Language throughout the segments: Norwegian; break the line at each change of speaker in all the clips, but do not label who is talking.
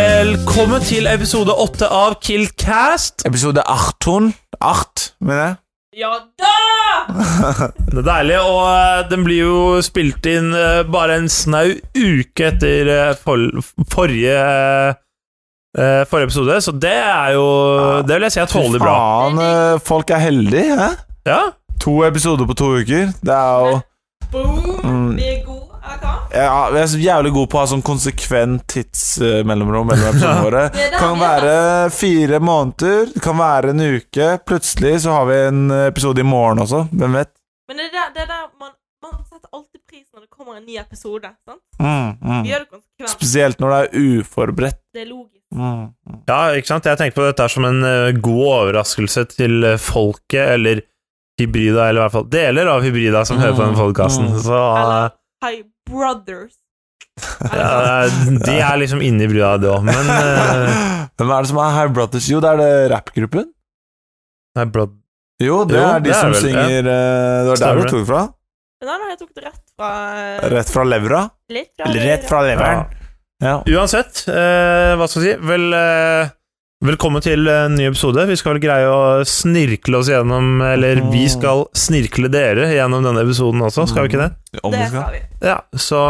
Velkommen til episode åtte av Killcast.
Episode 18. Art, mener jeg.
Det er deilig, og eh, den blir jo spilt inn eh, bare en snau uke etter eh, for, forrige eh, Forrige episode, så det er jo Det vil jeg si er tålelig bra.
Faen, eh, folk er heldige, hæ?
Ja,
To episoder på to uker. Det er jo Mm.
Boom! Vi er gode, eller hva?
ja, Vi er så jævlig gode på å ha sånn konsekvent tidsmellomrom mellom episodene våre.
er det
Kan
vi er.
være fire måneder, det kan være en uke. Plutselig så har vi en episode i morgen også. Hvem vet?
Men det er der, det er der man, man setter alltid pris når det kommer en ny episode. sant?
Mm,
Vi
mm.
gjør det konsekvent.
Spesielt når det er uforberedt.
Det er logisk.
Mm. mm.
ja ikke sant? Jeg tenker på dette her som en eh, god overraskelse til eh, folket, eller hybrida, eller i hvert fall deler av hybrida som
Mm,
hører på den podkasten.
mm.
Så eh,
Eller Hi Brothers. sånn.
ja, de er liksom inne i brua, det òg. Men eh,
Hvem er det som er High Brothers? Jo, det er det rappgruppen.
nei, bro,
Jo, det
Jo,
er de
det er
som
vel- ja.
synger eh, Det var
Stemmer
der
det.
du tok det fra?
Men nei, nei, jeg tok det rett fra eh,
Rett fra levra?
Litt fra
Eller rett fra leveren. Ja.
Uansett, eh, hva skal vi si Vel, eh, Velkommen til en ny episode. Vi skal vel greie å snirkle oss gjennom Eller vi skal snirkle dere gjennom denne episoden også, skal vi ikke det?
Om
Det
vi skal.
skal vi.
Ja, så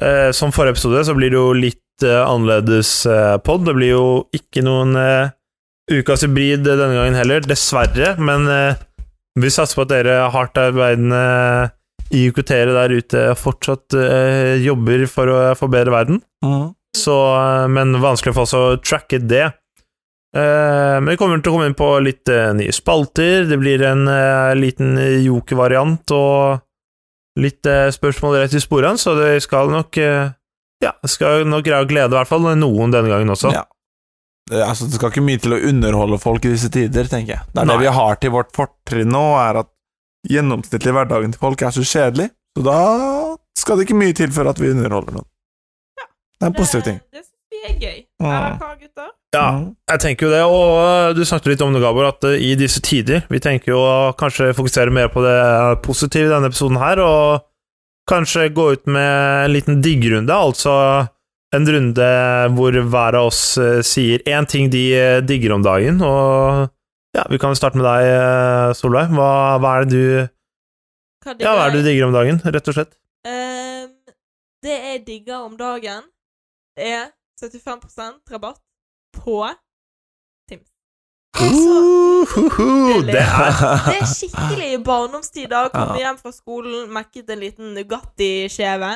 eh, Som forrige episode så blir det jo litt eh, annerledes eh, pod. Det blir jo ikke noen eh, ukas hybrid denne gangen heller, dessverre. Men eh, vi satser på at dere hardtarbeidende eh, IUKT-ere der ute fortsatt eh, jobber for å forbedre verden.
Mm.
Så, eh, men vanskelig for oss å tracke det. Eh, men vi kommer til å komme inn på litt eh, nye spalter. Det blir en eh, liten jokervariant og litt eh, spørsmål rett i sporene, så det skal nok eh, Ja, skal nok greie å glede i hvert fall noen denne gangen også.
Ja. Det, altså, det skal ikke mye til å underholde folk i disse tider, tenker jeg. Det er
Nei.
det vi har til vårt fortrinn nå, er at gjennomsnittlig hverdagen til folk er så kjedelig. Så da skal det ikke mye til for at vi underholder noen. Det er en positiv ting.
Det- Det syns vi er gøy.
Mm.
Eller hva, gutter?
Ja.
Mm.
Jeg tenker jo det, og eh, du snakket litt om det, Gabor, at eh, i disse tider Vi tenker jo å kanskje fokusere mer på det positive i denne episoden her, og kanskje gå ut med en liten diggrunde, altså en runde hvor hver av oss eh, sier én ting de eh, digger om dagen, og ja, vi kan jo starte med deg, eh, Solveig. Hva, hva er det du
Hva digger
Ja, hva er det
jeg?
du digger om dagen, rett og slett?
Ehm, det jeg digger om dagen, det er 75 rabatt på Tims. Altså,
Uhuhu, det er
Det er skikkelig barndomstid. Da kom
Ja.
vi hjem fra skolen, mekket en liten Nugatti-skjeve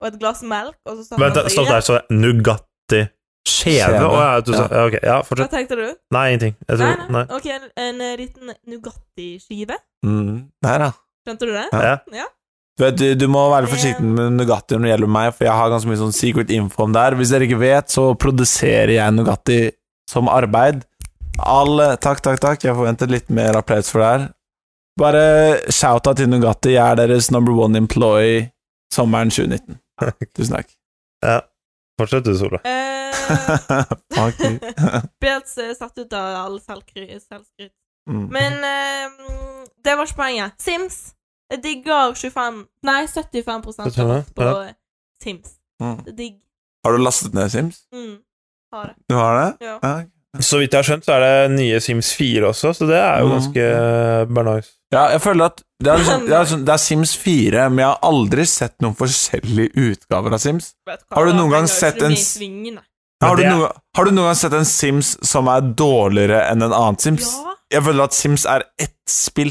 og et glass melk, og så satte
Vent,
man seg
stopp
i
der,
det.
så Nugatti Skjeve?
Skjeve.
Å ja, du sa ja, Ok, ja, fortsett.
Hva tenkte du?
Nei, ingenting. Jeg
Nei,
tror,
nei.
nei.
Ok, en, en eh, liten Nugatti-skive.
Mm. Der, ja.
Skjønte du det?
Ja.
Du, vet, du, du må være
Det-
forsiktig med Nugatti når det gjelder meg, for jeg har ganske mye sånn secret info om det her. Hvis dere ikke vet, så produserer jeg Nugatti som arbeid. Alle Takk, takk, takk. Jeg forventer litt mer applaus for det her. Bare shouta til Nugatti. Jeg er deres number one employee sommeren 2019. Tusen takk.
Fortsett du, Sola.
Eh,
Fuck you.
Helt eh, satt ut av all selvkry- selvskryt.
Mm.
Men eh, det var ikke poenget. Sims. Jeg digger 25 Nei, 75
Hva tror du?
rabatt på Sims.
Mm.
Det er digg.
Har du lastet ned Sims?
Mm. Ha det.
Du har det?
Ja.
Ja.
Så vidt jeg har skjønt, så er det nye Sims 4 også, så det er jo
Mm.
ganske eh, bernais.
Ja, jeg føler at det er, sånn, det, er sånn, det er Sims 4, men jeg har aldri sett noen forskjellige utgaver av Sims.
Vet hva,
Har du
da
noen gang
henger jo
sett
ikke det
en
med i
s-
svingene.
Men
Har du,
det-
noen, har du noen gang sett en Sims som er dårligere enn en annen Sims?
Ja.
Jeg føler at Sims er ett spill.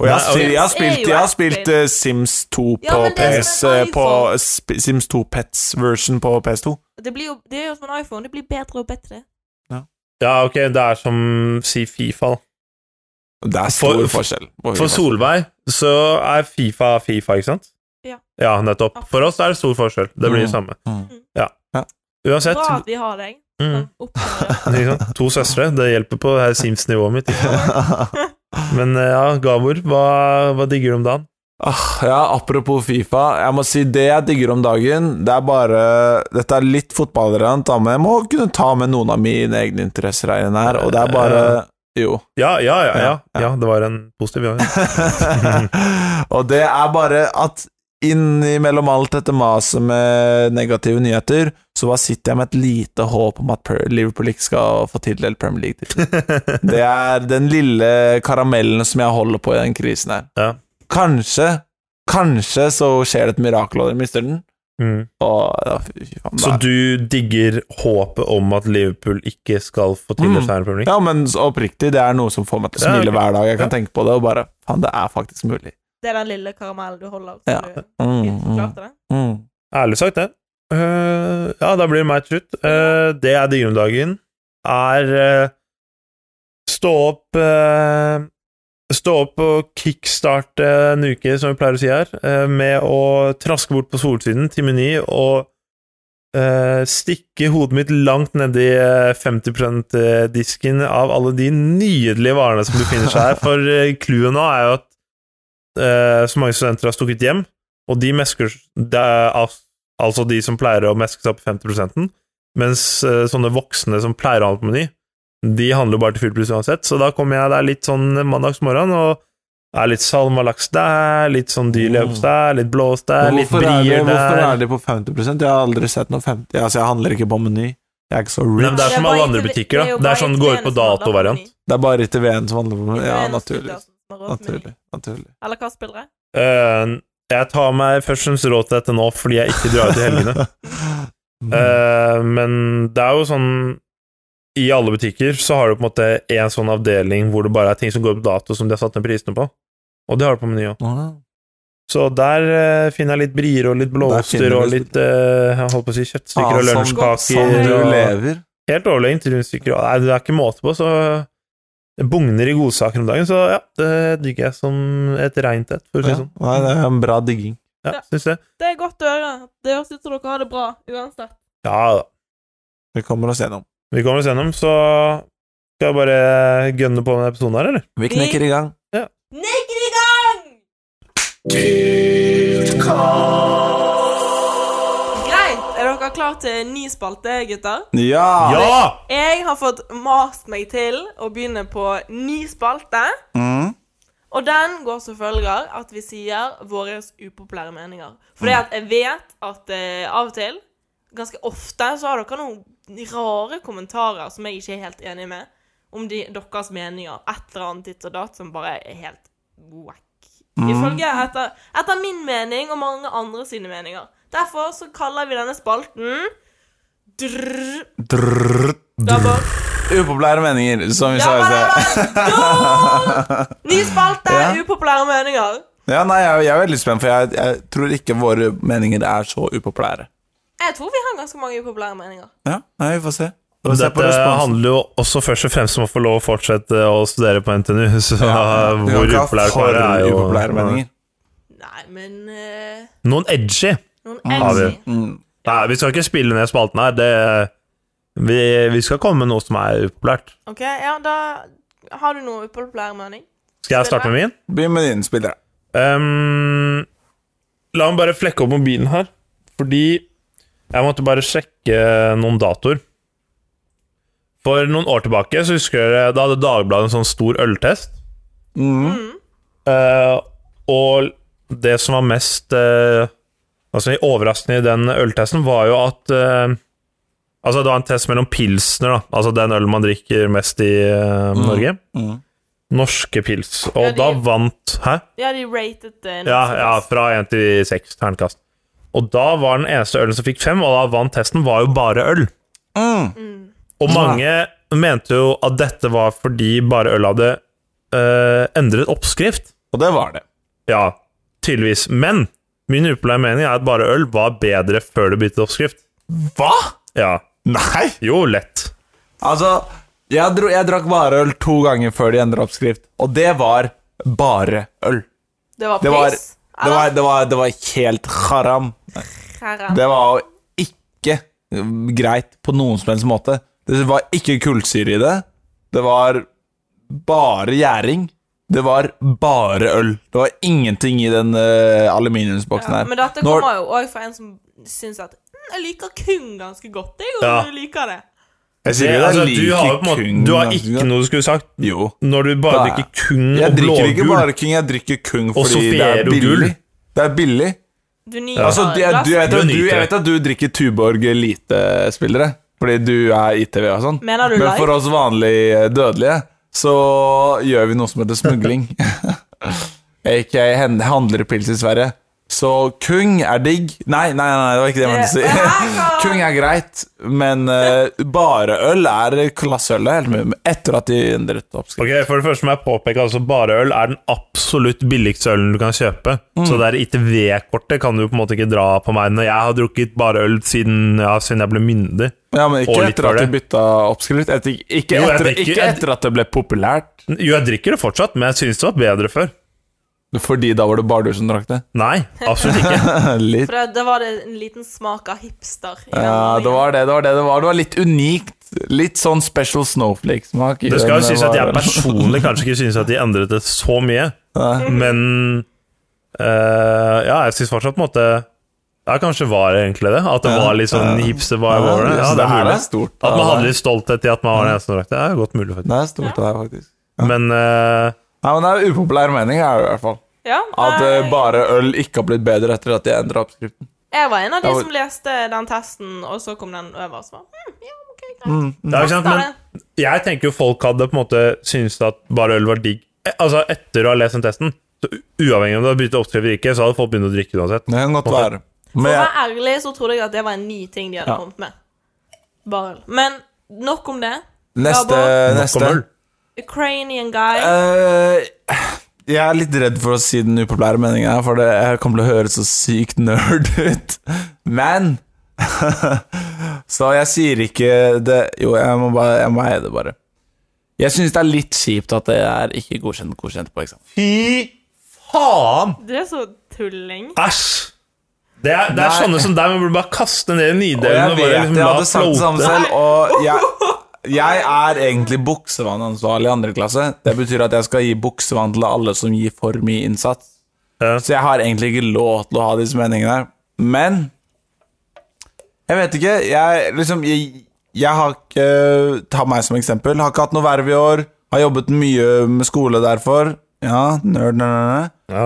Og jeg, har
Nei,
spilt- jeg har
Sims E er
spilt,
jo
jeg har
ett
spilt
spill.
eh, Sims 2
Ja,
på
men det er
PS
som en
eh, på
iPhone.
sp- Sims 2 Pets version på PS2.
Det, blir jo, det er jo som en iPhone. Det blir bedre og bedre.
Ja, ok, det er som si Fifa. da.
Det er
For-
stor
for-
forskjell. på
For
FIFA.
Solveig så er Fifa Fifa, ikke sant?
Ja.
Ja, nettopp. For oss er det stor forskjell. Det blir det
Mm.
samme.
Mm.
Ja.
Ja.
Uansett.
Bra at vi har deg.
Mm.
Sånn, oppnår det.
Ikke sant? To søstre, det hjelper på det her Sims-nivået mitt. ikke sant? Men eh, ja, Gabor, hva, hva digger du om dagen?
Ah, ja, apropos Fifa. Jeg må si det jeg digger om dagen, det er bare Dette er litt fotballrelevant, da, men jeg må kunne ta med noen av mine egne interesser her inne her, og det er bare Jo.
Ja, ja, ja, ja.
Ja, ja.
ja det var en positiv gang.
og det er bare at innimellom alt dette maset med negative nyheter, så bare sitter jeg med et lite håp om at Per- Liverpool ikke skal få tildelt Premier League-tittelen. Det er den lille karamellen som jeg holder på i den krisen her.
Ja.
Kanskje, kanskje så skjer det et mirakel, og dere mister den.
mm.
Og, ja, fy faen,
Så
det er-
du digger håpet om at Liverpool ikke skal få
Mm.
tildelt mm. Premier League?
Ja, men så oppriktig, det er noe som får meg til å
Ja,
smile
ok.
hver dag. Jeg kan tenke på det og bare Faen, det er faktisk mulig.
Det er den lille karamellen du holder.
Ja.
Ja. Du,
Mm, mm,
klarte det.
mm.
Ærlig sagt, det. Eh, ja, da blir det meg til slutt. Eh, det jeg digger om dagen, er eh, stå opp eh, Stå opp og kickstarte en uke, som vi pleier å si her, eh, med å traske bort på solsiden til Meny og eh, stikke hodet mitt langt nedi eh, 50 %-disken av alle de nydelige varene som befinner seg her. For eh, clouet nå er jo at eh, så mange studenter har stukket hjem. Og de mesker det er al- Altså de som pleier å meske seg opp i 50 mens eh, sånne voksne som pleier å handle på Meny, de handler jo bare til full pluss uansett. Så da kommer jeg der litt sånn mandagsmorgen og er litt salmalaks der, litt sånn dyr
Mm.
leverpostei, litt blåst der, litt
Hvorfor er, det,
brier
hvorfor
der.
er de på 50 Jeg har aldri sett noe 50 Altså, jeg handler ikke på Meny. Jeg er ikke så
Nei, men
rich.
det er som
bare
alle andre
itali-
butikker,
det
da.
er jo
Det
bare
er sånn går ut på
italienerne som handler
dato-variant.
på
Det er bare til VN som handler på
Meny.
Meny. Ja,
Italienerne
naturlig.
som har råd til Meny.
Naturlig. naturlig.
Eller hva spiller jeg?
Eh, jeg tar meg først og fremst råd til dette nå fordi jeg ikke drar ut i helgene.
Mm.
Eh, men det er jo sånn I alle butikker så har du på en måte en sånn avdeling hvor det bare er ting som går på dato, som de har satt ned prisene på. Og det har du på Meny òg. Så der eh, finner jeg litt brier og litt blåoster
finner
og
du-
litt eh, Jeg holdt på å si kjøttstykker
Ah,
og
sånn- Sånn
lunsjkaker.
du
og-
lever.
Helt overlegent rundstykker. og- Nei, det er ikke måte på, så det bugner i godsaker om dagen. Så ja, det digger jeg som et reint et, for å si
Ja.
det sånn.
Nei, det er en bra digging.
Ja, synes jeg.
Det er godt å høre. Det høres ut som dere har det bra uansett.
Ja da.
Vi kommer oss gjennom.
Vi kommer oss gjennom, så skal jeg bare gønne på med denne episoden her, eller?
Vi knekker i gang.
Nikker i gang! Greit. Er dere klare til en ny spalte, gutter?
Ja!
Ja!
Jeg har fått mast meg til å begynne på ny spalte.
Mm.
Og den går som følger at vi sier våre upopulære meninger. Fordi
Mm.
at jeg vet at eh, av og til, ganske ofte, så har dere noen rare kommentarer som jeg ikke er helt enig med, om de, deres meninger. Et eller annet ditt og datt som bare er helt wack.
Mm.
Ifølge etter, etter min mening og mange andre sine meninger. Derfor så kaller vi denne spalten Drrrr.
Drrrr.
Dabber.
Upopulære meninger, som vi sa i sted.
Dabber. Ny spalte!
Ja.
Upopulære meninger.
Ja, nei, jeg, jeg er veldig spent, for jeg, jeg tror ikke våre meninger er så upopulære.
Jeg tror vi har ganske mange upopulære meninger.
Ja, nei, vi får se. Vi får se på
Dette
responsen.
handler jo også først og fremst om å få lov å fortsette å studere på NTNU, så
Vi kan
hvor
ikke ha
upopulært
for
det er jo
upopulære meninger.
Nei, men eh,
Noen edgy.
Noen
Har vi.
edgy.
Mm.
Nei, vi skal ikke spille ned spalten her. Det, vi, vi skal komme med noe som er upopulært.
OK, ja, da har du noe upopulær mening.
Skal jeg starte med min?
Begynn med din, spillere.
Ehm, la meg bare flekke opp mobilen her, fordi jeg måtte bare sjekke noen datoer. For noen år tilbake så husker dere, da hadde Dagbladet en sånn stor øltest.
Mm.
Eh, og det som var mest eh, altså, overraskende i den øltesten, var jo at eh, Altså, det var en test mellom pilsner, da. Altså den ølen man drikker mest i eh, Norge.
Mm.
Norske pils. Og
Ja, de-
da vant Hæ?
Ja, de rated det.
Ja, ja, fra én til seks ternekast. Og da var den eneste ølen som fikk fem, og da vant testen, var jo bare øl.
Mm.
Og mange mente jo at dette var fordi bare øl hadde eh, endret oppskrift.
Og det var det.
Ja, tydeligvis. Men min upopulære mening er at bare øl var bedre før du byttet oppskrift.
Hva?!
Ja.
Nei!
Jo, lett.
Altså, jeg, dro, jeg drakk bare øl to ganger før de endret oppskrift, og det var bare øl.
Det var
Det var,
piss.
det var, det var, det var helt haram.
Herren.
Det var jo ikke greit på noen som helst måte. Det var ikke kullsyre i det. Det var bare gjæring. Det var bare øl. Det var ingenting i den eh, aluminiumsboksen
ja,
her.
men dette
Når-
kommer jo òg fra en som syns at mm, jeg liker kun ganske godt, jeg, og
Ja.
du liker det.
Jeg sier
Det,
ikke at
altså,
jeg
du, har, jo på
liker
en måte,
Kung.
du har
ganske
ikke
godt.
noe du skulle sagt
Jo.
når du bare
Da-
drikker kun
Jeg
og
drikker ikke
blågul.
bare King, jeg drikker Kung fordi det
Sofiero
er billig.
gull.
Det er billig.
Du nyter
Altså, de,
det raskt.
du, jeg, vet
Du
at du,
nyter
jeg
det.
vet at du drikker Tuborg Elite-spillere, fordi du er ITV og sånn.
Mener du
Men for
live?
oss vanlige dødelige så gjør vi noe som heter smugling. Ikke handlerpils i Sverige. Så kung er digg Nei, nei, nei, det var ikke det jeg
Ah,
mente å si. Kung er greit, men eh, bare øl er klasseølet helt med, etter at de endret oppskrift.
Ok, For det første må jeg påpeke altså bare øl er den absolutt billigste ølen du kan kjøpe. Så det der ITV-kortet kan du på en måte ikke dra på meg når jeg har drukket bare øl siden, ja, siden jeg ble myndig.
Ja, men ikke
Og litt
etter at
for
de
det.
bytta oppskrift. Etter, ikke,
Jo, jeg
etter,
drikker-
ikke
jeg-
etter at det ble populært,
Jo, jeg drikker det fortsatt, men jeg syns det var bedre før.
fordi da var det bare du som drakk det.
Nei, absolutt ikke.
Litt.
For da- da var det en liten smak av hipster. i den
Ja, det
ordningen.
var det det var. Det det var, det var litt unikt. Litt sånn special snowflake-smak. i
Det skal
den
jo sies at jeg
varen.
personlig kanskje ikke synes at de endret det så mye,
Nei.
men eh, Ja, jeg syns fortsatt på en måte Ja, kanskje var det egentlig det? At det var litt sånn hipster var over det? Ja,
Så
det er
her
mulig.
stort.
At man
Ja,
hadde litt stolthet i at man var den eneste som drakk det, er jo godt mulig, faktisk.
Det er stort, det her, faktisk.
Men eh,
Nei, men det er upopulær mening, er det i hvert fall.
Ja,
At
nei,
eh, bare øl ikke har blitt bedre etter at jeg endra oppskriften.
Jeg var en av de
Jeg var-
som leste den testen, og så kom den øverst. Var, Hm, ja, ok, greit.
det er jo ikke sant,
Da er det.
men jeg tenker jo folk hadde på en måte syntes at bare øl var digg. Eh, Altså, etter å ha lest den testen, så u- uavhengig om du hadde byttet oppskrift eller ikke, så hadde folk begynt å drikke uansett.
Det kan godt være.
For
Men
å
jeg,
være ærlig så trodde jeg at det var en ny ting de hadde
Ja.
kommet med. Bare øl. Men nok om det.
neste
Nok om
neste.
øl.
Ukrainian guy.
Eh, jeg er litt redd for å si den upopulære meningen her, for det jeg kommer til å høres så sykt nerd ut. Men Så jeg sier ikke det Jo, jeg må, bare, jeg må eie det, bare. Jeg syns det er litt kjipt at det er ikke godkjent, godkjent på eksamen.
Fy faen!
Du er så tulling.
Æsj! Det er, det er
Nei.
sånne som deg, man burde bare kaste ned i
Og
nydelen
jeg
og bare
vet
liksom
jeg
la
hadde sagt det samme
floate.
selv, og jeg, jeg er egentlig buksevannansvarlig i andre klasse. Det betyr at jeg skal gi buksevann til alle som gir for mye innsats.
Ja.
Så jeg har egentlig ikke lov til å ha disse meningene her. Men jeg vet ikke. Jeg liksom Jeg, jeg har ikke Ta meg som eksempel. Har ikke hatt noe verv i år. Har jobbet mye med skole derfor. Ja, nerd, nerd, nerd.
Ja.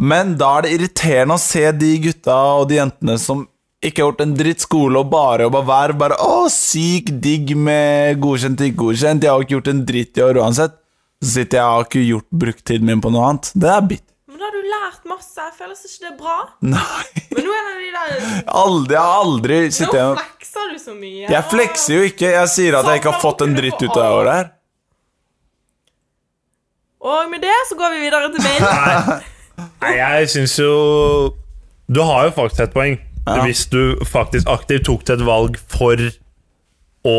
Men da er det irriterende å se de gutta og de jentene som ikke har gjort en dritt skole og bare jobba verv. Bare 'Å, syk digg med godkjent, ikke godkjent'. Jeg har jo ikke gjort en dritt i år uansett. Så sitter jeg og har ikke gjort brukt tiden min på noe annet. Det er bitt.
Men da har du lært masse. Føles ikke det bra?
Nei.
Men nå er det de der
Aldri, jeg har aldri sittet
Nå
igjen
flekser du så mye.
Jeg flekser jo ikke. Jeg sier at jeg ikke har
Sånn
fått en dritt ut av det året her.
Og med det så går vi videre til min.
Nei, jeg syns jo Du har jo faktisk et poeng.
Ja.
Hvis du faktisk aktivt tok til et valg for å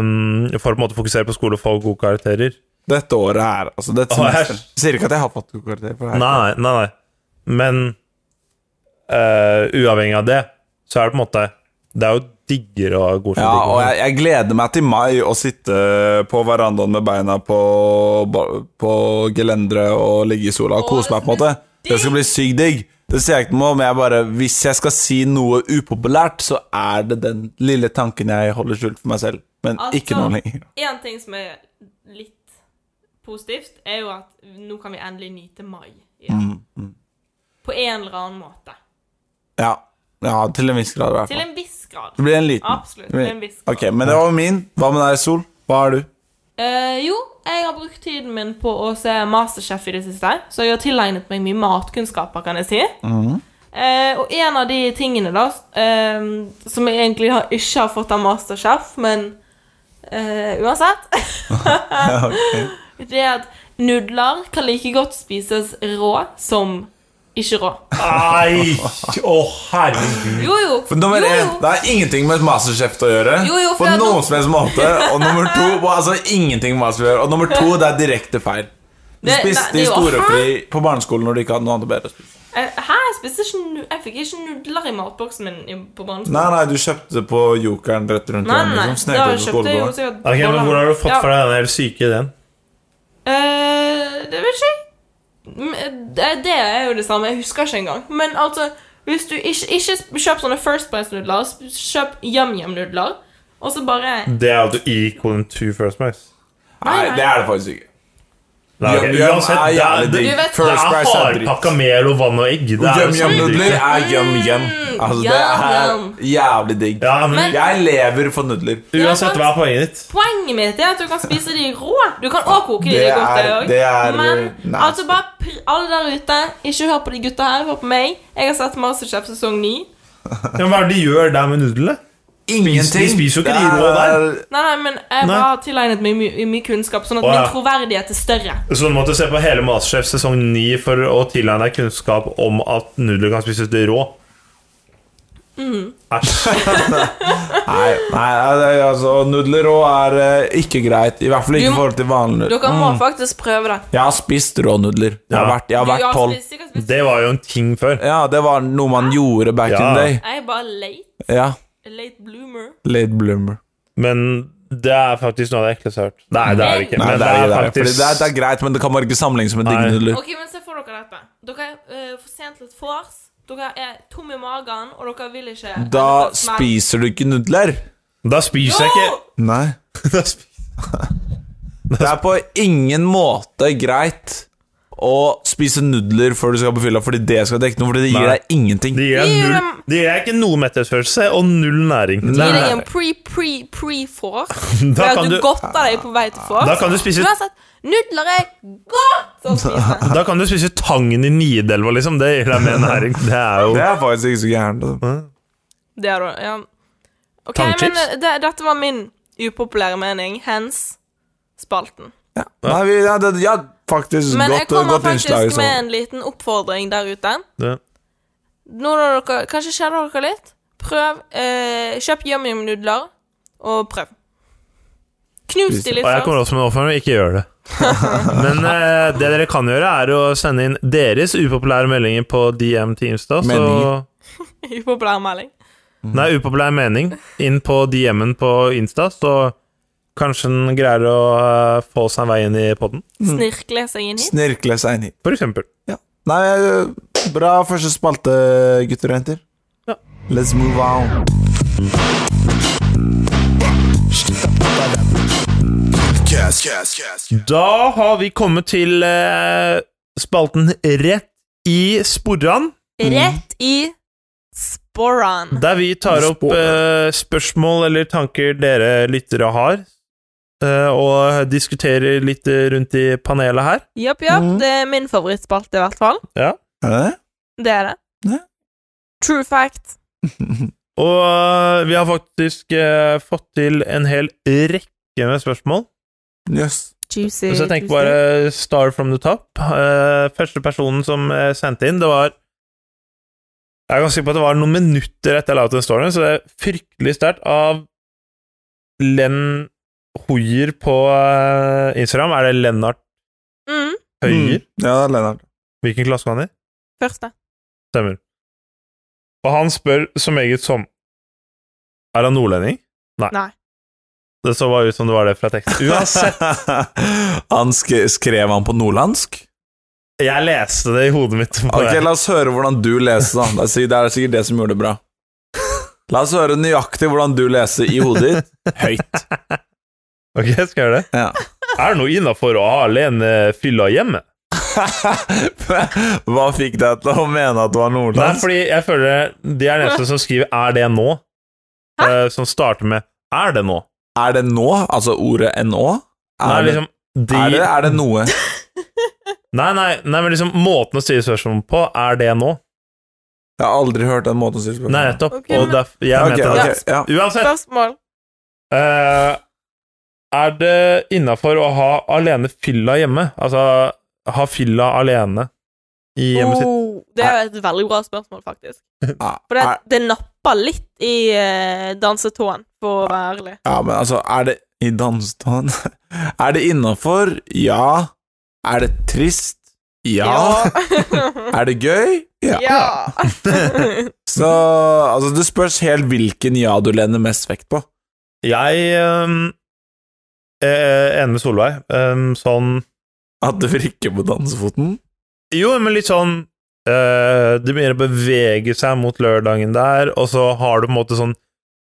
um, For å på en måte fokusere på skole og få gode karakterer.
Dette året her. Altså, dette
Å, her.
semesteret. Jeg Sier ikke at jeg har fått god karakter for det her.
Nei, nei, nei. Men eh, uavhengig av det, så er det på en måte Det er jo diggere å ha godkjent
Ja,
ikke
og
godkjent.
jeg, jeg gleder meg til mai å sitte på verandaen med beina på, på gelenderet og ligge i sola og kose meg, på en måte. Det skal bli sykt digg. Det sier jeg ikke noe om, jeg bare Hvis jeg skal si noe upopulært, så er det den lille tanken jeg holder skjult for meg selv. Men ikke noe lenger.
Altså, En ting som er litt positivt, er jo at nå kan vi endelig nyte mai igjen.
Mm,
På en eller annen måte.
Ja, ja til en viss grad, i hvert
Til
fall.
en viss grad.
Det blir en liten.
Absolutt. Til en viss grad.
Ok, men det var min. Hva med deg, Sol? Hva er du?
Eh, jo, jeg har brukt tiden min på å se Masterchef i det siste, så jeg har tilegnet meg mye matkunnskaper, kan jeg si.
Mm.
Eh, og en av de tingene da, eh, som jeg egentlig har, ikke har fått av Masterchef, men eh, uansett, det er at nudler kan like godt spises rå som ikke rå.
Nei! Å, herregud.
Jo, jo.
For nummer
jo,
én, det
jo.
har ingenting med et masterchef å gjøre.
Jo, jo, for
på
jeg-
noen som helst måte. Og nummer to på- altså ingenting med masterchef å gjøre. Og nummer to, det er direkte feil. Du
Det-
spiste
nei, det er jo-
historiefri på barneskolen når du ikke hadde noe annet bedre å spise.
Eh, Hæ? Jeg, spiste ikke, nu- jeg fikk ikke nudler i matboksen min i- på barneskolen.
Nei, nei, du kjøpte på Jokeren rett rundt
Nei, nei, nei.
liksom.
Da
Snekte på
kjøpte jeg jo
skolegården.
sikkert
Ok, men Hvor har du fått
Ja.
fra deg den helt syke ideen?
Eh, det vet ikke jeg. Men Det det er jo det samme. Jeg husker ikke engang. Men altså, hvis du ikke, ikke kjøp sånne First Price-nudler, sp- kjøp YumYum-nudler, og så bare
Mm.
Det er jo at du equal to first mice.
Nei, det er det faktisk ikke.
Nei, ok.
Yum-yum
Uansett,
er
det er, det,
jævlig
Du
digg.
vet-
det er
First Price er
hardpakka
dritt.
mel og vann og egg. Det er jo samme
Yum-yum-nudler
dritt.
er yum-yum. Altså, det er
Yum-yum.
jævlig digg.
Ja, men
Men-
Jeg lever for nudler.
uansett, hva er poenget ditt?
Poenget mitt er at du kan spise de rå. Du kan òg koke de
Det
i godt.
er-
også.
det er,
Men
eh, nasty.
altså bare pr alle der ute, ikke hør på de gutta her. Hør på meg. Jeg har sett Masterchef sesong 9.
Ja, men hva er det de gjør der med nudlene?
Ingenting.
De spiser jo ikke de
Det
rå der.
er-
Nei, nei, men
Nei.
jeg bare har tilegnet meg mye, mye kunnskap, sånn at
Å, ja.
min troverdighet er større.
Så du måtte se på hele Masterchef sesong 9 for å tilegne deg kunnskap om at nudler kan spises rå? Mhm. Æsj.
Nei, nei det er- altså, nudler rå er eh, ikke greit. I hvert fall ikke
Du-
i forhold til vanlig nudler.
Dere må faktisk prøve det.
Mm. Jeg har spist rå nudler. Jeg har
Ja.
vært, jeg har
Du
vært
har
tolv.
spist- sikkert spist-
Det var jo en ting før.
Ja, det var noe man gjorde back
Ja.
in the day.
Jeg er bare late.
Ja.
Late bloomer.
Late bloomer.
Men det er faktisk noe av det ekleste jeg har hørt. Nei, det er det ikke.
Nei,
Men
det, er, det, er, fordi
faktisk
det, er, det er greit, men det kan bare ikke sammenlignes med digge
Nei.
nudler.
Ok, men se for dere dette. Dere er eh, for sent til et vors. Dere er tom i magen, og dere vil ikke
Da
Men-
spiser du ikke nudler.
Da spiser jeg
Jo!
ikke
Nei.
Da spiser-
Det er på ingen måte greit å spise nudler før du skal på fylla, fordi det skal dekke noe, fordi det gir
Nei.
deg ingenting.
Det gir deg
Gir
null
dem-
Det gir deg ikke noe metthetsfølelse og null næring.
Gi
Nei.
deg en pre-pre-pre-vors.
Da
Da
kan
du
du-
godter deg på vei til vors.
Da kan du spise-
Uansett, nudler er godt å spise.
Da kan du spise tangen i Nidelva, liksom. Det gir deg mer næring. Det er jo
Det er faktisk ikke så gærent. altså.
Det er det, ja. Ok,
Tangchips?
men eh, det, dette var min upopulære mening. Hens spalten.
Ja. Nei, vi, ja, det, ja, faktisk.
Men jeg
godt
kommer
godt
faktisk
innslag.
med
Sånn.
en liten oppfordring der ute.
det.
Nå når dere, Kanskje kjenner dere litt? Prøv. Eh, kjøp yum-yum-nudler, og prøv. Knus de litt
Og jeg kommer
først.
også med en oppfordring, ikke gjør det. Men eh, det dere kan gjøre, er å sende inn deres upopulære meldinger på DM til Insta. Så, Mm.
Meninger.
Upopulær melding.
nei, upopulær mening inn på DM-en på Insta, så kanskje den greier å eh, få seg en vei inn i poden,
Snirkle seg inn hit.
Snirkle seg inn hit.
for eksempel.
Ja. Nei, bra første spalte, gutter og jenter.
Ja.
Let's move on.
Cast, cast, cast.
Da har vi kommet til eh, spalten Rett i sporene.
Rett i sporan.
Der vi tar opp
Spå-
eh, spørsmål eller tanker dere lyttere har, eh, og diskuterer litt eh, rundt i panelet her.
Japp, japp.
Mm.
Mhm.
Det er min favorittspalte, i hvert fall.
Er det det?
Det er det.
Ja.
True fact.
Og eh, vi har faktisk eh, fått til en hel rekke med spørsmål.
Jøss.
Juicy.
Så jeg tenker
juicy.
bare star from the top. Eh, første personen som eh, sendte inn, det var Jeg er ganske sikker på at det var noen minutter etter Louten Storyen, så det er fryktelig sterkt av Len Hoier på eh, Instagram. Er det Lennart
Mhm.
Høyer?
Mm. Ja, det er Lennart.
Hvilken klasse var han i?
Første.
Stemmer. Og han spør som eget som Er han nordlending? Nei.
Nei.
Det så bare ut som det var det fra teksten. Uansett,
han sk skrev han på nordlandsk?
jeg leste det i hodet mitt. på
Ok,
det.
La oss høre hvordan du leser, da. Det er sikkert, det er sikkert det som gjorde det bra. La oss høre nøyaktig hvordan du leser i hodet ditt. Høyt.
Ok, skal jeg gjøre det?
Ja.
Er det noe innafor å ha alene fylla hjemme?
Hva fikk deg til å mene at du var
Nei,
nordlandsk?
fordi jeg føler de er den eneste som skriver 'er det nå', eh, som starter med 'er det nå'?
Er det nå? Altså ordet nå?
Nei,
Er, det-
liksom, de,
er, det, er det noe?
Nei, nei, nei, men liksom måten å stille spørsmål på, er det nå?
Jeg har aldri hørt den måten å si spørsmål
Nei, nettopp.
Ok,
og
men-
derf- jeg
Ok,
mente det.
ok, ja.
Uansett,
Spørsmål.
eh, er det innafor å ha alene fylla hjemme? Altså ha fylla alene i hjemmet sitt?
Oh, det er jo et veldig bra spørsmål, faktisk.
Ja,
For det,
er,
det napper litt i eh, dansetåen, for å være ærlig.
ja, men altså, er det I dansetåen Er det innafor? Ja. Er det trist? Ja. Er det gøy? Ja.
ja.
Så altså, det spørs helt hvilken ja du lener mest vekt på.
Jeg eh, er enig med Solveig. Eh, sånn
At det virker på dansefoten?
Jo, men litt sånn eh, Det begynner å bevege seg mot lørdagen der, og så har du på en måte sånn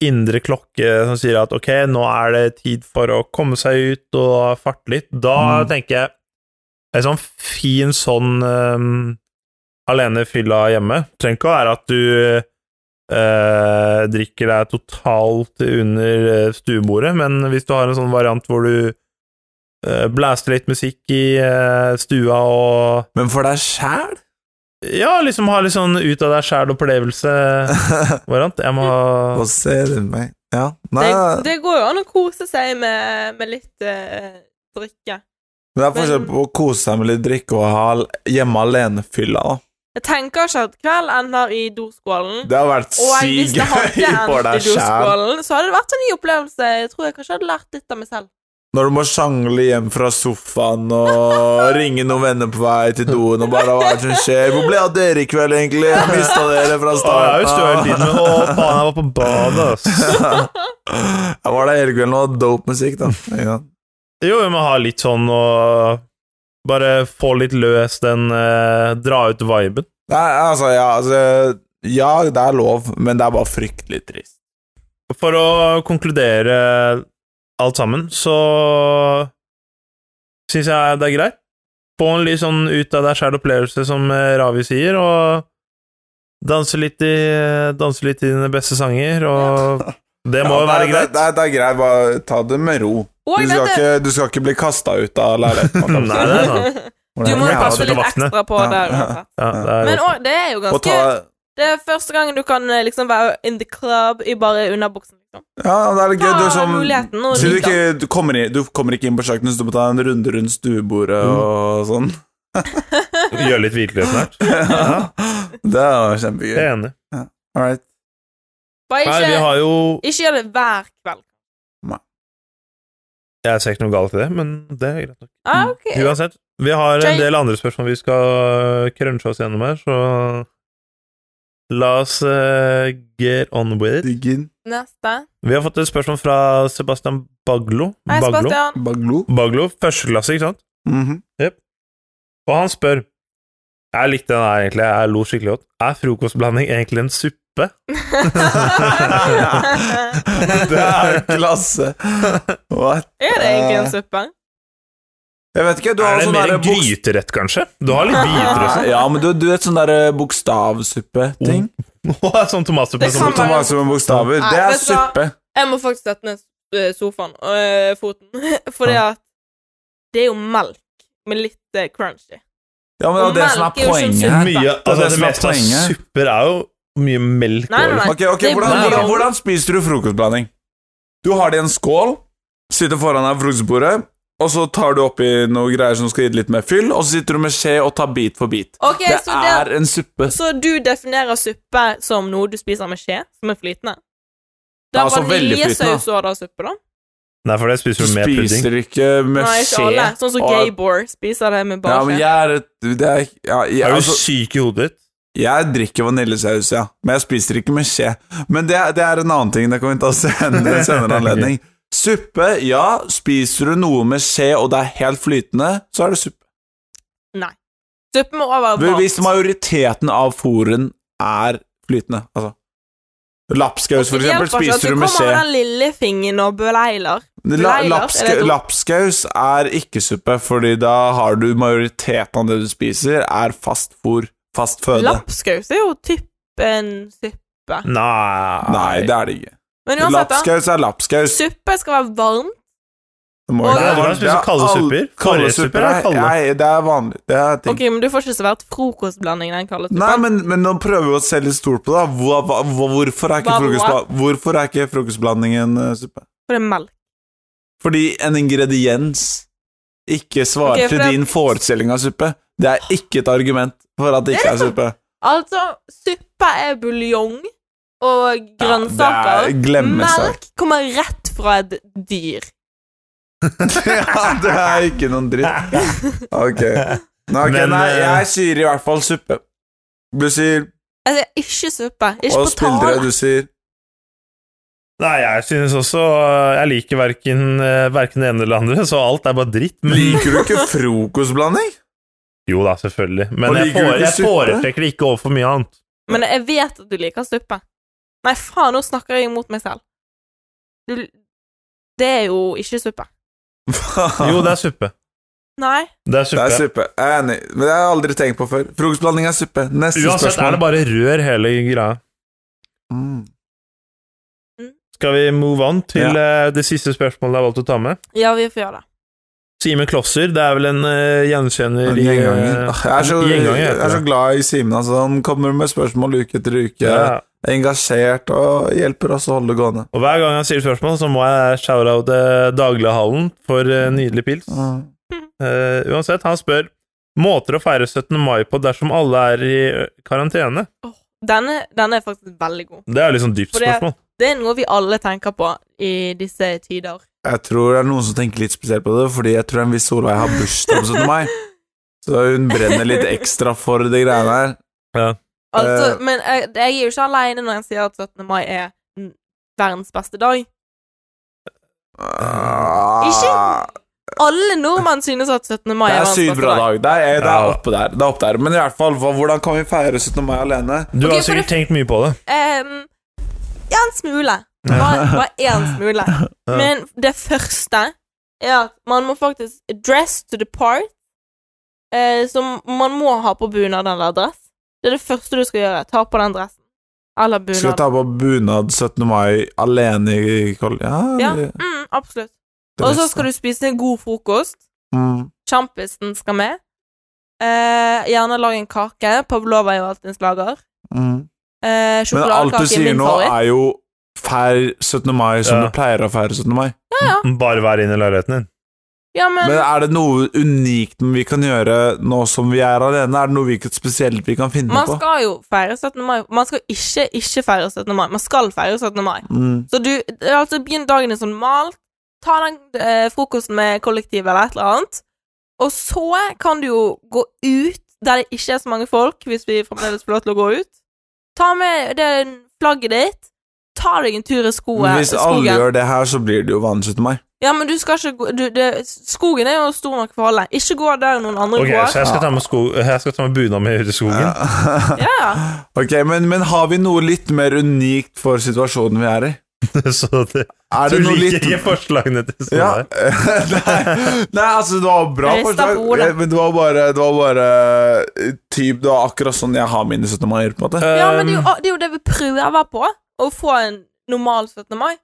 indre klokke som sier at ok, nå er det tid for å komme seg ut og farte litt. Da tenker jeg en sånn fin sånn ehm, alene fylla hjemme. Trenger ikke å være at du eh, drikker deg totalt under eh, stuebordet, men hvis du har en sånn variant hvor du eh, blaster litt musikk i eh, stua og
Men for deg sjæl?
ja, liksom ha litt sånn ut av deg sjæl-opplevelse-variant. Jeg må ha
Hva ser du meg? Ja. Nei,
Det,
det,
det går jo an å kose seg med, med litt eh, drikke.
er forskjell på å kose seg med litt drikke og ha l- hjemme alene-fylla. da.
Jeg tenker ikke at kveld ender i doskålen.
Det har vært
Og hvis
sykt
det hadde
gøy for
endt i
deg sjæl.
doskålen, så hadde det vært en ny opplevelse. Jeg tror jeg kanskje hadde lært litt av meg selv.
Når du må sjangle hjem fra sofaen og ringe noen venner på vei til doen og bare hva er det som skjer? Hvor ble av dere i kveld, egentlig? Jeg mista dere fra
Å, jeg er jo støl hele
starten.
tiden, men å, faen, jeg var på badet, ass.
Jeg var der hele kvelden og hadde dope musikk, da. Ja.
Jo, vi må ha litt sånn og bare få litt løs den eh, dra ut-viben.
Nei, altså, ja, altså Ja, det er lov, men det er bare fryktelig trist.
For å konkludere alt sammen, så syns jeg det er greit. Få en litt sånn ut av deg sjæl-opplevelse, som eh, Ravi sier, og danse litt i Danse litt i dine beste sanger, og det må
Ja,
jo være
det,
greit.
det, det er greit. Bare ta det med ro.
Og
Du skal
dette-
ikke, du skal ikke bli kasta ut av leiligheten. man kan
Nei, det er sant.
si.
Du må
Ja,
jo passe
absolutt,
litt
og vaktene.
ekstra på
Ja.
der. uansett.
Ja, det er
Men
godt.
og, det er jo
Og
ganske
ta,
Det er første gangen du kan eh, liksom være in the club i bare underbuksen. Liksom.
ja, det er litt gøy.
Ta
Du som
muligheten og
så du,
nyt den.
ikke, du, kommer inn, du kommer ikke inn på kjøkkenet, så du må ta en runde rundt stuebordet
Mm.
og sånn.
Gjøre litt virkelighet snart.
Ja. Det er
Jeg
kjempegøy.
er enig.
All right.
Bare
Nei, vi
ikke,
har jo
ikke gjør det hver kveld.
Jeg ser ikke noe galt i det, men det er greit nok.
Ah, ok.
Uansett, vi har
Jay-
en del andre spørsmål vi skal øh, crunche oss gjennom her, så la oss eh, get on with it.
Diggen.
Neste.
Vi har fått et spørsmål fra Sebastian Baglo.
Hei,
Baglo,
Sebastian.
Baglo.
Baglo førsteklasse, ikke sant?
Mhm.
Og han spør Jeg likte den her, egentlig. Jeg lo skikkelig godt. Er frokostblanding egentlig en suppe?
Det er klasse. What?
er det egentlig en suppe?
Jeg vet ikke, du har
Er det
sånn
mer
derre
en gryterett, kanskje? Du har litt biter og
Ja, men du, du vet sånn derre bokstavsuppe-ting?
sånn. Sånn tomatsuppe
Det
som
kan være-
Tomat som bokstaver.
Nei,
Det er
vet du hva?
suppe.
Jeg må faktisk sette ned eh, sofaen og eh, foten, fordi at det er jo melk med litt eh, crunchy.
Ja, men det er det som er
Melk er jo ikke en
poenget
Ja,
her.
suppe.
mye, altså,
det
det
som er
meste av
poenget.
supper er jo mye melk
Nei, nei,
og-
nei.
Ok, ok,
Det er
hvordan,
bra.
hvordan, hvordan spiser du frokostblanding? Du har det i en skål, sitter foran deg ved frokostbordet, og så tar du oppi noen greier som skal gi det litt mer fyll, og så sitter du med skje og tar bit for bit.
Ok,
Det
så, det,
er en suppe.
så du definerer suppe som noe du spiser med skje, som er flytende? Det
Ja,
er
altså, veldig flytende, da.
vaniljesaus og da suppe, da?
Nei, for det
Du
spiser du med pudding.
spiser ikke med
Nei, ikke
skje.
alle. Sånn som
og-
Gaybor spiser det med
Ja,
bare
men
skje.
jeg er et det er, ja, jeg,
Er du
altså,
syk i hodet ditt?
jeg drikker vaniljesaus, ja, men jeg spiser ikke med skje. Men det, er- det er en annen ting det kan vi ta senere, ved en senere anledning. Suppe, ja. Spiser du noe med skje, og det er helt flytende, så er det suppe.
Nei. Suppe må over
Hvis-
varmt.
Hvis majoriteten av fôren er flytende, altså Lapskaus, for
Det hjelper
eksempel,
ikke at
spiser du med
kommer med
skje.
den lillefingeren og beleiler.
La,
Bleier, er
lapska,
det dumt?
lapskaus er ikke suppe, fordi da har du majoriteten av det du spiser, er fast fôr, fast føde.
Lapskaus er jo typ en suppe.
Nei.
Nei, det er det ikke.
Men uansett, da.
Lapskaus er lapskaus.
Suppe skal være varm.
Det må
Og-
jo-
Nei,
du kan spise
Det er
kalde
all-
supper.
Kalde
Forrige
supper
supper er
er
kalde.
Nei, det er vanlig. Det er ting.
Ok, men du får ikke servert frokostblanding i den kalde
Nei,
suppen.
men, men nå prøver vi å se litt stort på det. da. Hva, hva, hva, hvorfor, er ikke
Hva- hva?
frokostbla- hvorfor er ikke frokostblandingen eh, suppe?
For det er melk.
Fordi en ingrediens ikke svarer
Ok, for
til
det-
din forestilling av suppe. Det er ikke et argument for at det ikke er suppe.
Altså, suppe er buljong og
Ja,
grønnsaker.
det er glemmesak.
melk kommer rett fra et dyr.
ja, det er ikke noen dritt. Ok. Nei, ok,
Men,
nei,
eh,
jeg sier i hvert fall suppe. Du sier
Altså, ikke suppe. Ikke
Og
på
spillere,
tale.
du sier
Nei, jeg synes også øh, Jeg liker verken, øh, verken det ene eller det andre, så alt er bare dritt. Men,
Liker du ikke frokostblanding?
jo da, selvfølgelig.
Og
Men jeg,
liker du
fore,
ikke
jeg
suppe?
foretrekker det ikke over for mye annet.
Men jeg vet at du liker suppe. Nei, faen, nå snakker jeg imot meg selv. Du, det er jo ikke suppe.
Jo, det er suppe.
Nei.
Det er
Det
suppe.
er suppe. Jeg er enig. Men det har jeg aldri tenkt på før. Frokostblanding er suppe. Neste
Uansett er det
spørsmål.
bare rør hele greia.
Mm.
Skal vi move on til eh, det siste spørsmålet jeg valgte å ta med?
Ja, vi får gjøre det.
Simen Klosser, det er vel en eh, gjenkjenner
En
i, eh,
Gjenganger. Åh, Jeg er så,
gjenganger,
jeg
heter
er så
det.
glad i Simen. Altså. Han kommer med spørsmål uke etter uke.
Ja.
Er engasjert og hjelper oss å holde det gående.
Og hver gang jeg sier spørsmål, så må jeg shout-oute Daglighallen for eh, nydelig pils.
Mm.
Eh, uansett, han spør måter å feire 17. mai på dersom alle er i ø, karantene.
Åh, Denne, denne er faktisk veldig god.
Det er liksom dypt
For det-
spørsmål.
Det er noe vi alle tenker på i disse tider.
Jeg tror det er noen som tenker litt spesielt på det, fordi jeg tror en viss Solveig har bursdag på 17. mai. Så hun brenner litt ekstra for de greiene her.
Altså,
Eh.
men jeg, jeg er jo ikke alene når jeg sier at 17. mai er mm, verdens beste dag.
Ah,
Alle nordmenn synes at 17. mai
Det
er
er
verdens
sykt
beste
bra dag.
dag.
Det er, det
Ja.
er oppe der. Det er oppe der. Men i hvert fall, hva- hvordan kan vi feire 17. mai alene?
Du
Ok,
har
for
sikkert tenkt mye på det.
Em, ja, en smule. Bare, bare én smule. Men det første er at man må faktisk dress to the part. Eh, så man må ha på bunad eller dress. Det er det første du skal gjøre. Ta på den dressen. Eller
Skal vi
bunad.
ta på bunad 17. mai alene i Koll... Ja,
Ja,
det-
mm, absolutt.
det
Og så
neste.
skal du spise en god frokost.
Mm.
Sjampisen skal med. Eh, gjerne lag en kake. Pavlova er jo alltid en slager.
Mm.
Eh,
Men alt du
Sjokoladekake er
sier
min
nå,
favoritt.
er jo feir 17. mai som
Ja.
du pleier å feire 17. mai.
Bare være inne i leiligheten din.
Ja, men,
Men er det noe unikt vi kan gjøre nå som vi er alene? Er det noe vi ikke spesielt vi kan finne
man
på?
skal jo feire 17. mai. Man skal ikke ikke feire 17. mai. Man skal feire 17. mai.
Mm.
Så du altså begynn dagen din som normalt. Ta den eh, frokosten med kollektivet eller et eller annet. Og så kan du jo gå ut der det ikke er så mange folk, hvis vi fremdeles får lov til å gå ut. Ta med det flagget ditt. Ta deg en tur i skogen.
Men hvis alle
skogen.
gjør det her, så blir det jo vanlig 17. mai.
Ja, men du skal ikke gå du, det, Skogen er jo stor nok for alle. Ikke gå der noen andre
Ok,
går.
så jeg skal ta med, sko jeg skal ta med bunad med ut i skogen.
Ja, ja.
ok, men, men har vi noe litt mer unikt for situasjonen vi er i?
så det,
Er
du
det noe
liker
litt
ikke forslagene til sånne
ja.
der.
Nei, nei, altså, det var bra
Rist av
forslag,
ordet.
eh, men det var bare, det var bare eh, typ, Det var akkurat sånn jeg har mine 17. mai, på en måte.
ja men det er,
Um,
jo, det er jo det vi prøver på. Å få en normal 17. mai.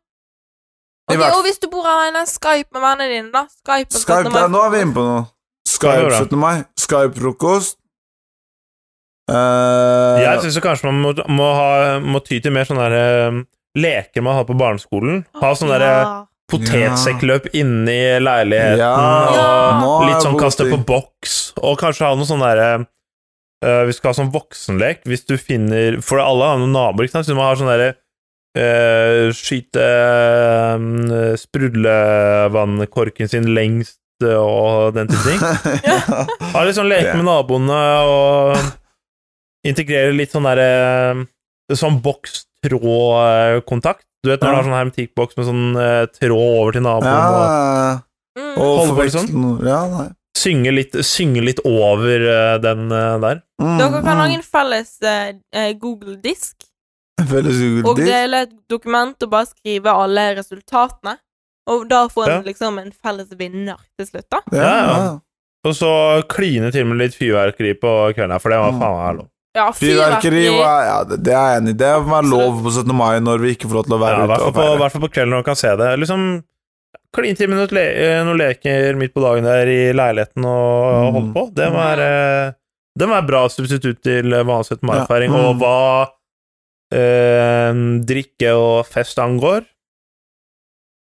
I
Ok,
hvert-
og hvis du bor alene, Skype med vennene dine, da. Skype på 17.
Skype,
mai.
ja, nå er vi inne på noe.
Skype,
Skype
bra.
17. mai, Skype-frokost Eh,
Jeg syns kanskje man må, må, ha, må ty til mer sånne der, um, leker man har på barneskolen. Ha sånn sånne der, eh,
ja.
potetsekkløp inni leiligheten,
Ja.
og
Ja.
litt sånn
Nå er
kaste
jeg
på
god
boks, og kanskje ha noe sånn derre eh, Vi skal ha sånn voksenlek hvis du finner For alle har noen naboer, ikke sant, så man har sånn derre eh, skyte eh, sprudlevannkorken sin lengst eh, og den type ting.
ja.
Ha litt sånn leke med naboene og integrere litt sånn derre Sånn bokstrådkontakt. Du vet når du
Ja.
har sånn hermetikkboks med sånn eh, tråd over til naboen, og
ja.
Mm.
Og
Holde på litt
forveksle noe- Ja, nei.
synge litt, synge litt over eh, den eh, der.
Mm,
Dere kan lage
mm.
en felles eh, eh, Google-disk
Felles
og
juledisk.
dele et dokument og bare skrive alle resultatene. Og da få
Ja.
en, liksom, en felles vinner til slutt, da.
Ja,
Ja,
ja.
Og så kline til med litt fyrverkeri på kvelden her, for det var
Mm.
faen meg lov.
Ja,
Fyrverkeri og- ja, det, det er jeg enig i. Det må være lov på 17. mai når vi ikke får lov til å
Ja,
være
I hvert fall
ute og
på- i
feire.
hvert fall på kvelden når man kan se det. Liksom Kline til med noen, le eh, noen leker midt på dagen der i leiligheten og, og holde
Mm.
på. Det må være eh, det må være bra substitutt til eh, vanlig 17. mai-feiring.
Ja. Mm.
Og hva eh, drikke og fest angår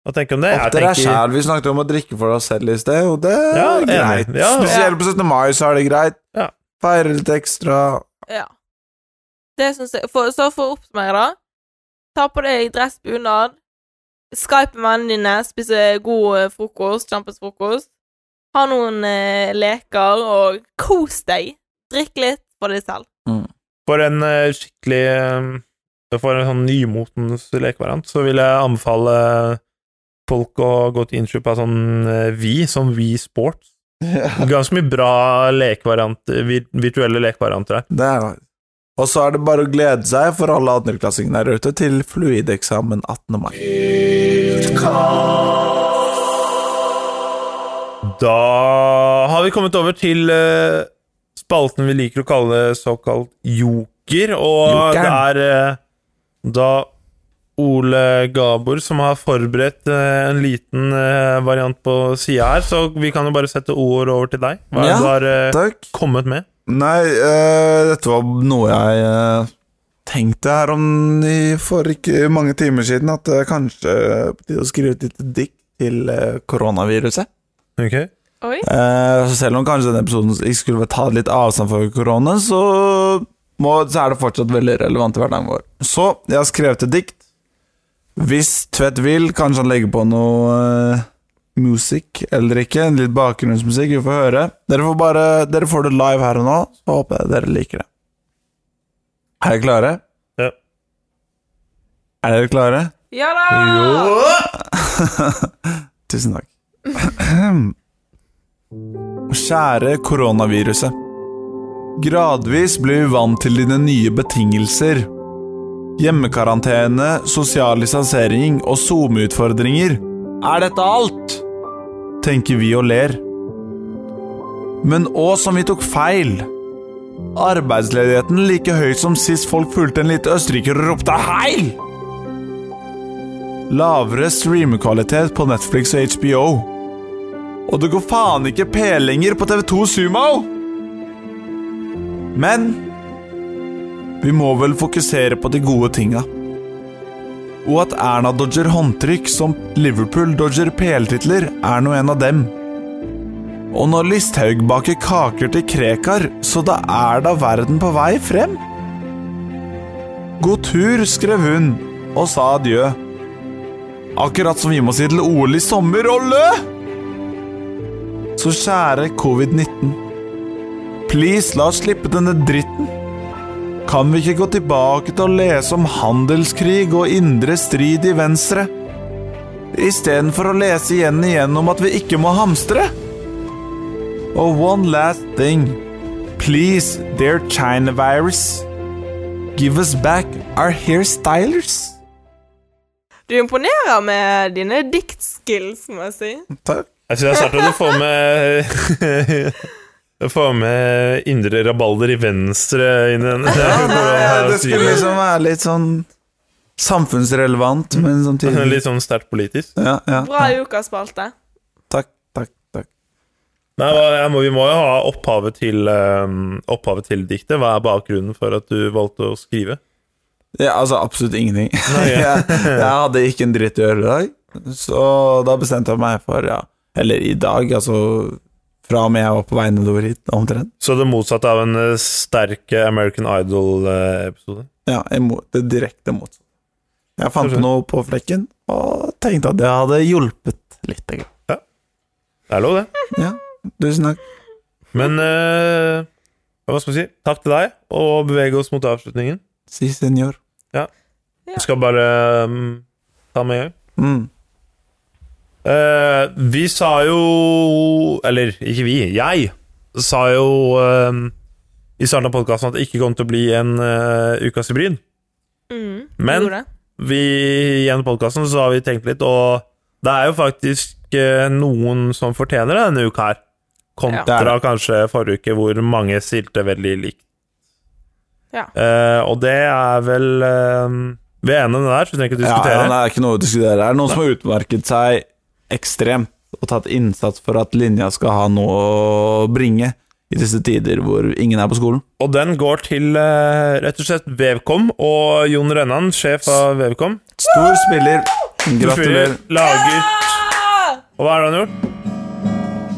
Hva tenker du om det? Jeg
Oppter deg
tenker-
sjæl. Vi snakket om å drikke for oss selv i sted, og det er
Ja, enig.
greit.
Ja, ja.
Spesielt på 17. mai så er det greit.
Ja.
Feire litt ekstra.
Ja. Det syns jeg for, Så for å oppsummere, da. Ta på deg dress, bunad, Skype med vennene dine, spise god eh, frokost, kjempefrokost. Ha noen eh, leker, og kos deg. Drikk litt for deg selv.
For en eh, skikkelig eh, For en sånn nymotens lekevariant, så vil jeg anbefale eh, folk å gå til innkjøp av sånn eh, Vi, sånn Vi Sports. Ganske mye bra lekevarianter, vir- virtuelle lekevarianter her.
Det er greit. Og så er det bare å glede seg for alle andreklassingene der ute til fluideksamen 18. mai.
Da har vi kommet over til eh, spalten vi liker å kalle såkalt joker, og
Jokeren.
det er eh, da Ole Gabor som har forberedt eh, en liten eh, variant på sida her, så vi kan jo bare sette ord over til deg. Hva er det du
Ja,
har eh,
Takk.
kommet med?
Nei,
Eh, dette var noe jeg eh, tenkte her om i for ikke mange timer siden, at det kanskje er på tide å skrive et lite dikt til eh, koronaviruset.
Ok?
Oi.
Eh, så selv om kanskje denne episoden ikke skulle ta litt avstand fra korona, så, må, så er det fortsatt veldig relevant i hverdagen vår. Så jeg har skrevet et dikt. Hvis Tvedt vil, kanskje han legger på noe eh, musikk eller ikke. Litt bakgrunnsmusikk, vi får høre. Dere får, bare, dere får det live her og nå, så håper jeg dere liker det. Er dere klare?
Ja.
Er dere klare?
Ja da!
Tusen takk. Kjære koronaviruset. Gradvis blir vi vant til dine nye betingelser. Hjemmekarantene, sosial distansering og SoMe-utfordringer. Er dette alt? Tenker vi og ler. Men å som vi tok feil. Arbeidsledigheten like høy som sist folk fulgte en liten østerriker og ropte heil! Lavere streamekvalitet på Netflix og HBO. Og det går faen ikke pelinger på TV2 Sumo! Men vi må vel fokusere på de gode tinga. Og at Erna dodger håndtrykk som Liverpool dodger peltitler, er nå en av dem. Og når Listhaug baker kaker til Krekar, så da er da verden på vei frem? God tur, skrev hun, og sa adjø. Akkurat som vi må si til OL i sommer, Olle! Så kjære covid-19. Please, la oss slippe denne dritten. Kan vi ikke gå tilbake til å lese om handelskrig og indre strid i Venstre? Istedenfor å lese igjen igjen om at vi ikke må hamstre? Og one last thing. Please, dear China virus. Give us back our hairstylers.
Du imponerer med dine diktskills, må jeg si.
Takk.
Jeg synes det er snart at du får med Får med indre rabalder i venstre inn i den.
Nei, det skulle liksom være litt sånn samfunnsrelevant, men samtidig
Litt sånn sterkt politisk.
ja, ja.
Bra ukaspalte.
Takk, takk, takk.
Nei, hva- jeg må, Vi må jo ha opphavet til, eh, opphavet til diktet. Hva er bakgrunnen for at du valgte å skrive?
Ja, altså absolutt ingenting.
ja.
jeg, jeg hadde ikke en dritt å gjøre i dag, så da bestemte jeg meg for, ja Eller i dag, altså fra og med jeg var på vei nedover hit, omtrent.
Så det motsatte av en eh, sterk eh, American eh, Idol-episode.
Ja, imot, det direkte motsatte. Jeg fant på noe på flekken og tenkte at det hadde hjulpet litt. grann.
Det er lov, det.
Ja, tusen takk.
Men eh, hva skal vi si? Takk til deg, og bevege oss mot avslutningen.
Si senor.
Vi skal bare mm, ta med en gang.
Mm.
Eh, vi sa jo Eller ikke vi, jeg sa jo eh, i starten av podkasten at det ikke kom til å bli en eh, ukas hybrid.
Mm,
Men-
gjorde det.
Vi, gjennom podkasten så har vi tenkt litt, og det er jo faktisk eh, noen som fortjener det denne uka her. Kontra
Ja.
kanskje forrige uke, hvor mange stilte veldig likt.
Ja.
Eh, og det er vel eh, Vi er enige om det der, så vi trenger ikke diskutere.
Ja, ja, det er ikke noe å diskutere. Er det noen som har utmerket seg ekstremt og tatt innsats for at linja skal ha noe å bringe i disse tider hvor ingen er på skolen?
Og den går til eh, rett og slett Vevkom og Jon Rønnan, sjef av Vevkom.
Stor spiller. Gratulerer.
Lager Og hva er det han har gjort?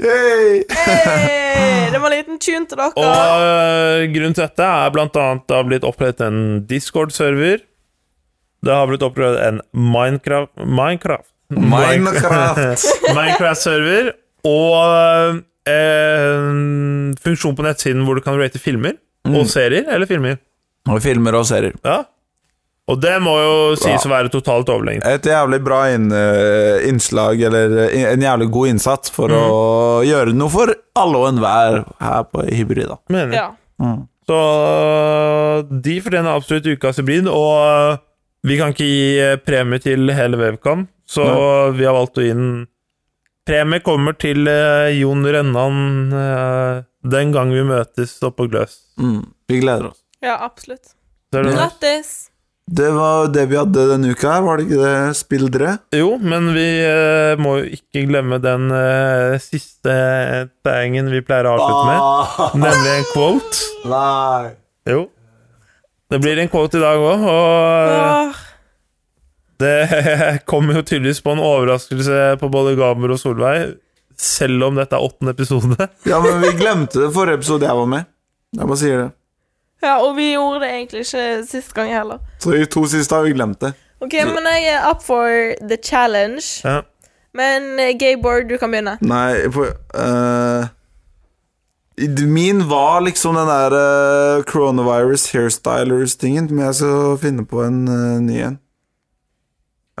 Yay!
Hey, det var en liten tune til dere.
Og eh, grunnen til dette er blant annet det har blitt opprettet en Discord-server. Det har blitt opprettet en Minecraft Minecraft
Minecraft.
Minecraft-server. Og eh, en funksjon på nettsiden hvor du kan rate filmer. Og serier eller filmer.
Og filmer og serier.
Ja. Og det må jo sies å være totalt overlegent.
Et jævlig bra inn, eh, innslag, eller eh, en jævlig god innsats for å gjøre noe for alle og enhver her på Hybrida.
Mener jeg.
ja.
Så øh, de fortjener absolutt ukas hybrid, og øh, vi kan ikke gi øh, premie til hele Webcam, så vi har valgt å gi den Premie kommer til eh, Jon Rønnan eh, den gang vi møtes oppe på Gløs.
Mm. Vi gleder oss.
Ja, absolutt.
Ser du det?
Grattis!
Det var jo det vi hadde denne uka her, var det ikke det? Spill dere?
Jo, men vi eh, må jo ikke glemme den eh, siste tingen vi pleier å avslutte med, nemlig en quote.
Nei.
Jo. Det blir en quote i dag òg, og
Åh,
det kom jo tydeligvis på en overraskelse på både Gamer og Solveig, selv om dette er åttende episode.
Ja, men vi glemte det forrige episode jeg var med. Jeg bare sier det.
ja, og vi gjorde det egentlig ikke sist gang heller.
Så de to siste har vi glemt det.
OK, men jeg er up for the challenge.
Ja.
Men eh, Gabor, du kan begynne.
Nei, på eh, i- Min var liksom den der eh, coronavirus hairstylers-tingen, men jeg skal finne på en eh, ny en.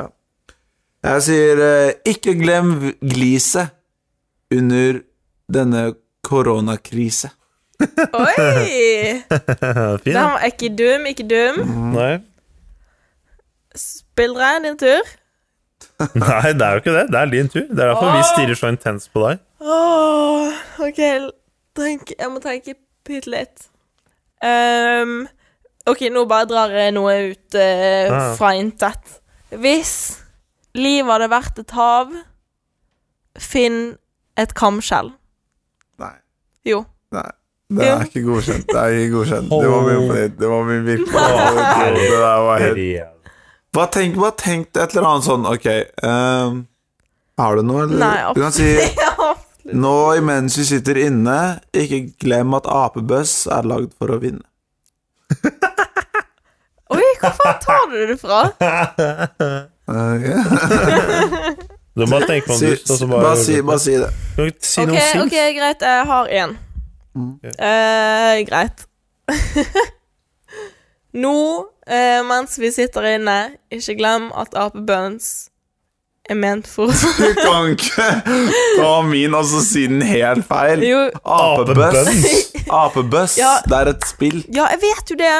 Ja. Jeg sier eh, ikke glem gliset under denne koronakrise.
Oi!
Fin.
Den var ikke dum, ikke dum.
Nei.
Spillere, din tur.
Nei, det er jo ikke det. Det er din tur. Det er derfor vi stirrer så intenst på deg.
Åh, OK, tenk, jeg må tenke bitte litt. Ehm, OK, nå bare drar jeg noe ut eh,
Ja.
fra intet. Hvis livet hadde vært et hav, finn et kamskjell.
Nei.
Jo.
Nei. Det er ikke godkjent. Det er ikke godkjent. Det var min favoritt. Det var min virkelig favoritt. Det der var helt Hva tenk, hva tenk et eller annet sånn Ok, ehm, har du noe? Eller?
Nei,
du kan si
Ja.
Nå imens vi sitter inne, ikke glem at apebøss er lagd for å vinne.
Oi, hvor faen tar du det fra?
Ok.
Du må bare tenke på om
Eh, Si,
du og så bare,
bare, si, bare si det.
Kan du ikke si
OK,
noe Mm. sint.
ok, greit. Jeg har én. Eh, greit. Nå, eh, mens vi sitter inne, ikke glem at apebønns er ment for oss.
Du kan ikke ta min og så si den helt feil.
Jo.
Apebøss. Apebøss,
Ja.
det er et spill,
Ja, jeg vet jo det!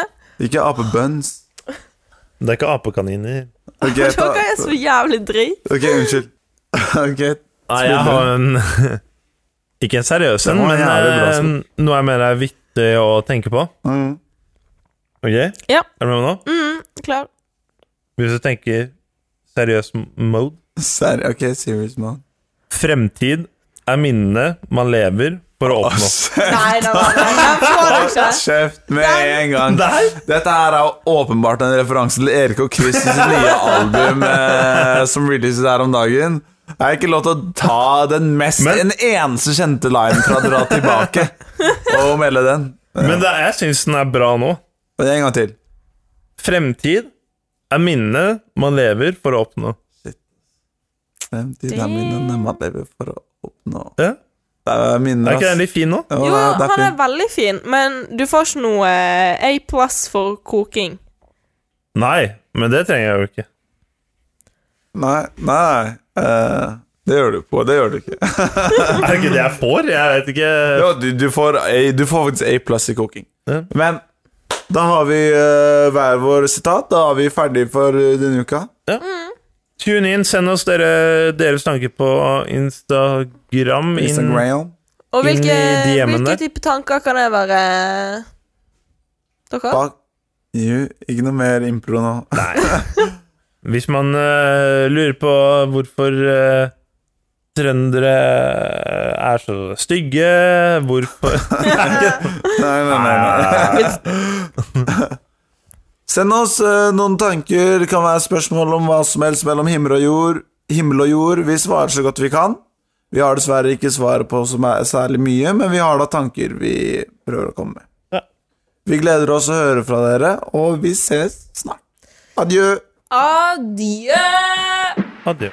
ikke apebønns.
Det er ikke apekaniner.
Ok, ta,
Dere er så jævlig drit.
ok, unnskyld. Ok,
Nei, jeg har en Ikke en seriøs en,
Den var
men
jævlig bra,
eh, noe jeg mener er vittig å tenke på.
mm.
Ok?
Ja.
Er du med nå?
Mm, klar.
Hvis du tenker seriøs mode
Ser, ok, serious man.
Fremtid er minnene man lever for å oppnå.
Nei, nei, nei, nei, den får du ikke.
Kjeft med en gang. Dette her er jo åpenbart en referanse til Erik og Chris sitt nye album eh, som releases her om dagen. Jeg har ikke lov til å ta den mest
Men-
En eneste kjente line fra Dra tilbake og melde den.
Men det, jeg syns den er bra nå.
Og En gang til.
Fremtid er minnene man lever for å oppnå.
Fremtiden er minnene man lever for å oppnå.
Ja.
Det er minner,
Er ikke den
ass.
litt fin nå?
Jo,
Jo,
det er- det er
han er
fint.
veldig fin, men du får ikke noe eh, A pluss for koking.
Nei, men det trenger jeg jo ikke.
Nei, nei. eh, det gjør du på. Det gjør du ikke.
Er det ikke det jeg får? Jeg vet ikke
Jo, du, du, får A, du får faktisk A pluss i koking.
Ja.
Men da har vi eh, hver vår sitat. Da er vi ferdig for eh, denne uka.
Tune inn, send oss dere, deres tanker på Instagram. inn-
Instagram.
Og
Inn i
hvilke,
DM-ene.
hvilke type tanker kan det være? eh, Dere?
Bak. Jo, ikke noe mer impro nå.
Hvis man eh, lurer på hvorfor eh, trøndere er så stygge, hvorfor
Nei, nei, nei, nei. Send oss eh, noen tanker. Det kan være spørsmål om hva som helst mellom himmel og jord. Himmel og jord. Vi svarer så godt vi kan. Vi har dessverre ikke svar på som er særlig mye, men vi har da tanker vi prøver å komme med.
Ja.
Vi gleder oss å høre fra dere, og vi ses snart. Adjø.
Adjø!
Adjø.